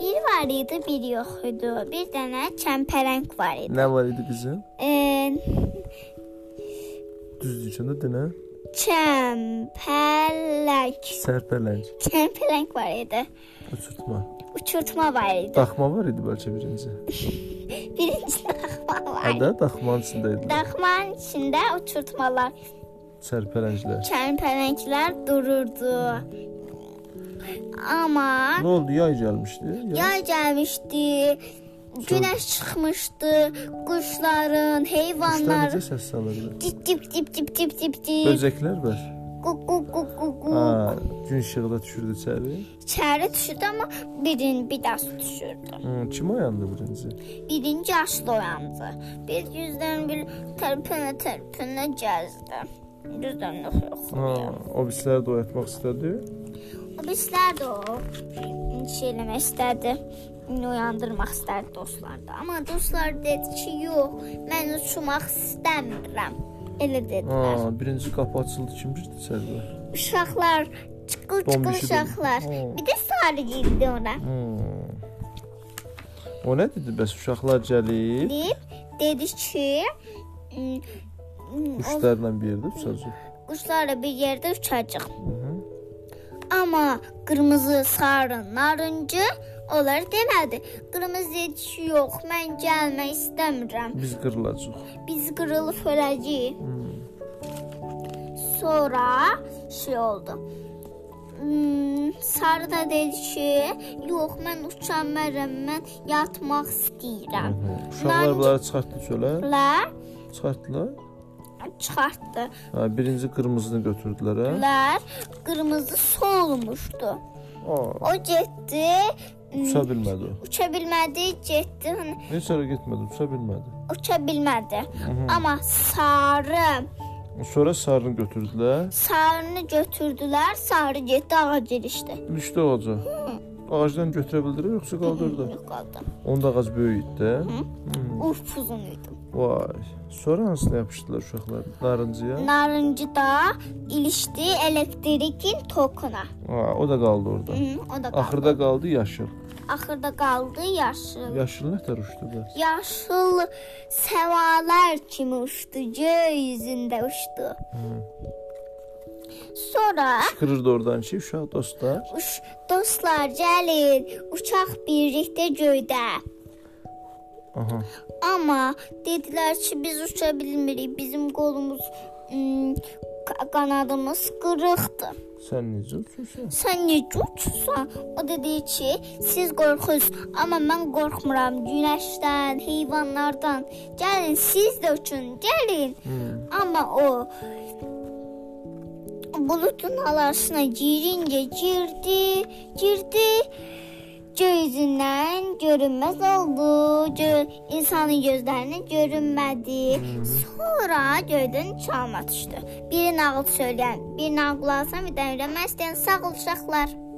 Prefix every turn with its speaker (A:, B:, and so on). A: var idi, bir yoxdu. Bir dənə çəmpərəng var idi.
B: Nə var idi qızım?
A: Ee,
B: Düz deyirsən də nə?
A: çəmpərlək.
B: Sərpələnc,
A: Çəmpərəng var idi.
B: uçurtma.
A: Uçurtma var idi.
B: Daxma var idi bəlkə birinci.
A: Birinci daxma var
B: Hə
A: idi.
B: də daxmanın içində idi.
A: Daxmanın içində uçurtmalar,
B: Sərpələnclər.
A: çəmpərənglər dururdu. Amma
B: Nə oldu? Yay gəlmişdi.
A: Yay gəlmişdi. Günəş çıxmışdı. Quşların,
B: Quşlar
A: heyvanların
B: necə səs salırdı?
A: dip dip dip dip dip dip dip.
B: Böcəklər var.
A: Qu qu qu qu qu.
B: Ha, gün işığı da düşürdü içəri.
A: İçəri düşdü amma birin bir daha su düşürdü.
B: Hı, kim oyandı birinci?
A: Birinci açlı oyandı. Bir yüzdən bir tərpənə tərpənə gəzdi. Yüzdən də
B: Ha,
A: yoxlayır.
B: o bizləri də oyatmaq istədi.
A: Bizlər də o şey eləmək istədi. Məni oyandırmaq istədi dostlar da. Amma dostlar dedi ki, yox, mən uçmaq istəmirəm. Elə
B: Ha,
A: dedilər.
B: birinci qapı açıldı kim girdi içəri? də?
A: Uşaqlar,
B: Don
A: çıqqıl-çıqqıl
B: bir şey dedi.
A: uşaqlar.
B: Hmm.
A: Bir də sarı girdi ona.
B: Hı. O nə dedi? Bəs uşaqlar gəlib
A: Deyib, dedi ki, "Hmm, "M, m, o
B: quşlarla bir yerdə uçacaq.
A: quşlarla bir yerdə uçacaq. Amma qırmızı, sarı, narıncı onları demədi. Qırmızı dedi ki, yox, mən gəlmək istəmirəm.
B: Biz qırılacağıq.
A: biz qırılıb öləcəyik. Sonra şey oldu. Hmm, Sarı da dedi ki, yox mən uçamıram, mən yatmaq istəyirəm.
B: Uşaqlar bunları çıxartdı çölə.
A: Lar
B: Çıxartdılar.
A: çıxartdı.
B: Ha, birinci qırmızını götürdülər. Hə?
A: Lar qırmızı solmuşdu.
B: Aa,
A: O getdi, hmm,
B: uça bilmədi o.
A: uça bilmədi, getdi, hani
B: Heç yerə getmədi, uça bilmədi.
A: uça bilmədi. Amma sarı
B: Sonra sarını götürdülər.
A: Sarını götürdülər, sarı getdi ağa girişdi.
B: Düşdü ağaca. Ağacdan götürə bildi yoxsa qaldırdı?
A: Yox qaldı.
B: Onun da ağac böyük idi də.
A: Uf uzun idi.
B: Vay. Sonra hansına yapışdılar uşaqlar? Narıncıya.
A: Narıncı da ilişdi elektrikin tokuna.
B: Ha, o da qaldı orada.
A: Hı, o da qaldı.
B: Axırda qaldı yaşıl.
A: Axırda qaldı yaşıl.
B: Yaşıl nə tər uçdu bəs?
A: Yaşıl səmalar kimi uçdu, göy üzündə uçdu. Sonra
B: Qırırdı oradan ki, uşaq dostlar.
A: uş, dostlar gəlin, uçaq birlikdə göydə.
B: Aha.
A: Amma dedilər ki, biz uça bilmirik. Bizim qolumuz, ım, qa- qanadımız qırıqdır.
B: Sən necə uçursan?
A: Sən necə uçursan? O dedi ki, siz qorxursunuz, amma mən qorxmuram günəşdən, heyvanlardan. Gəlin siz də uçun, gəlin. Amma o buludun alasına girincə girdi, girdi. Göy üzündən görünməz oldu. Gö insanın gözlərinə görünmədi. Sonra göydən çalma düşdü. Biri nağıl söyləyən, bir nağıl alsan, bir də öyrənməzdən sağ ol uşaqlar.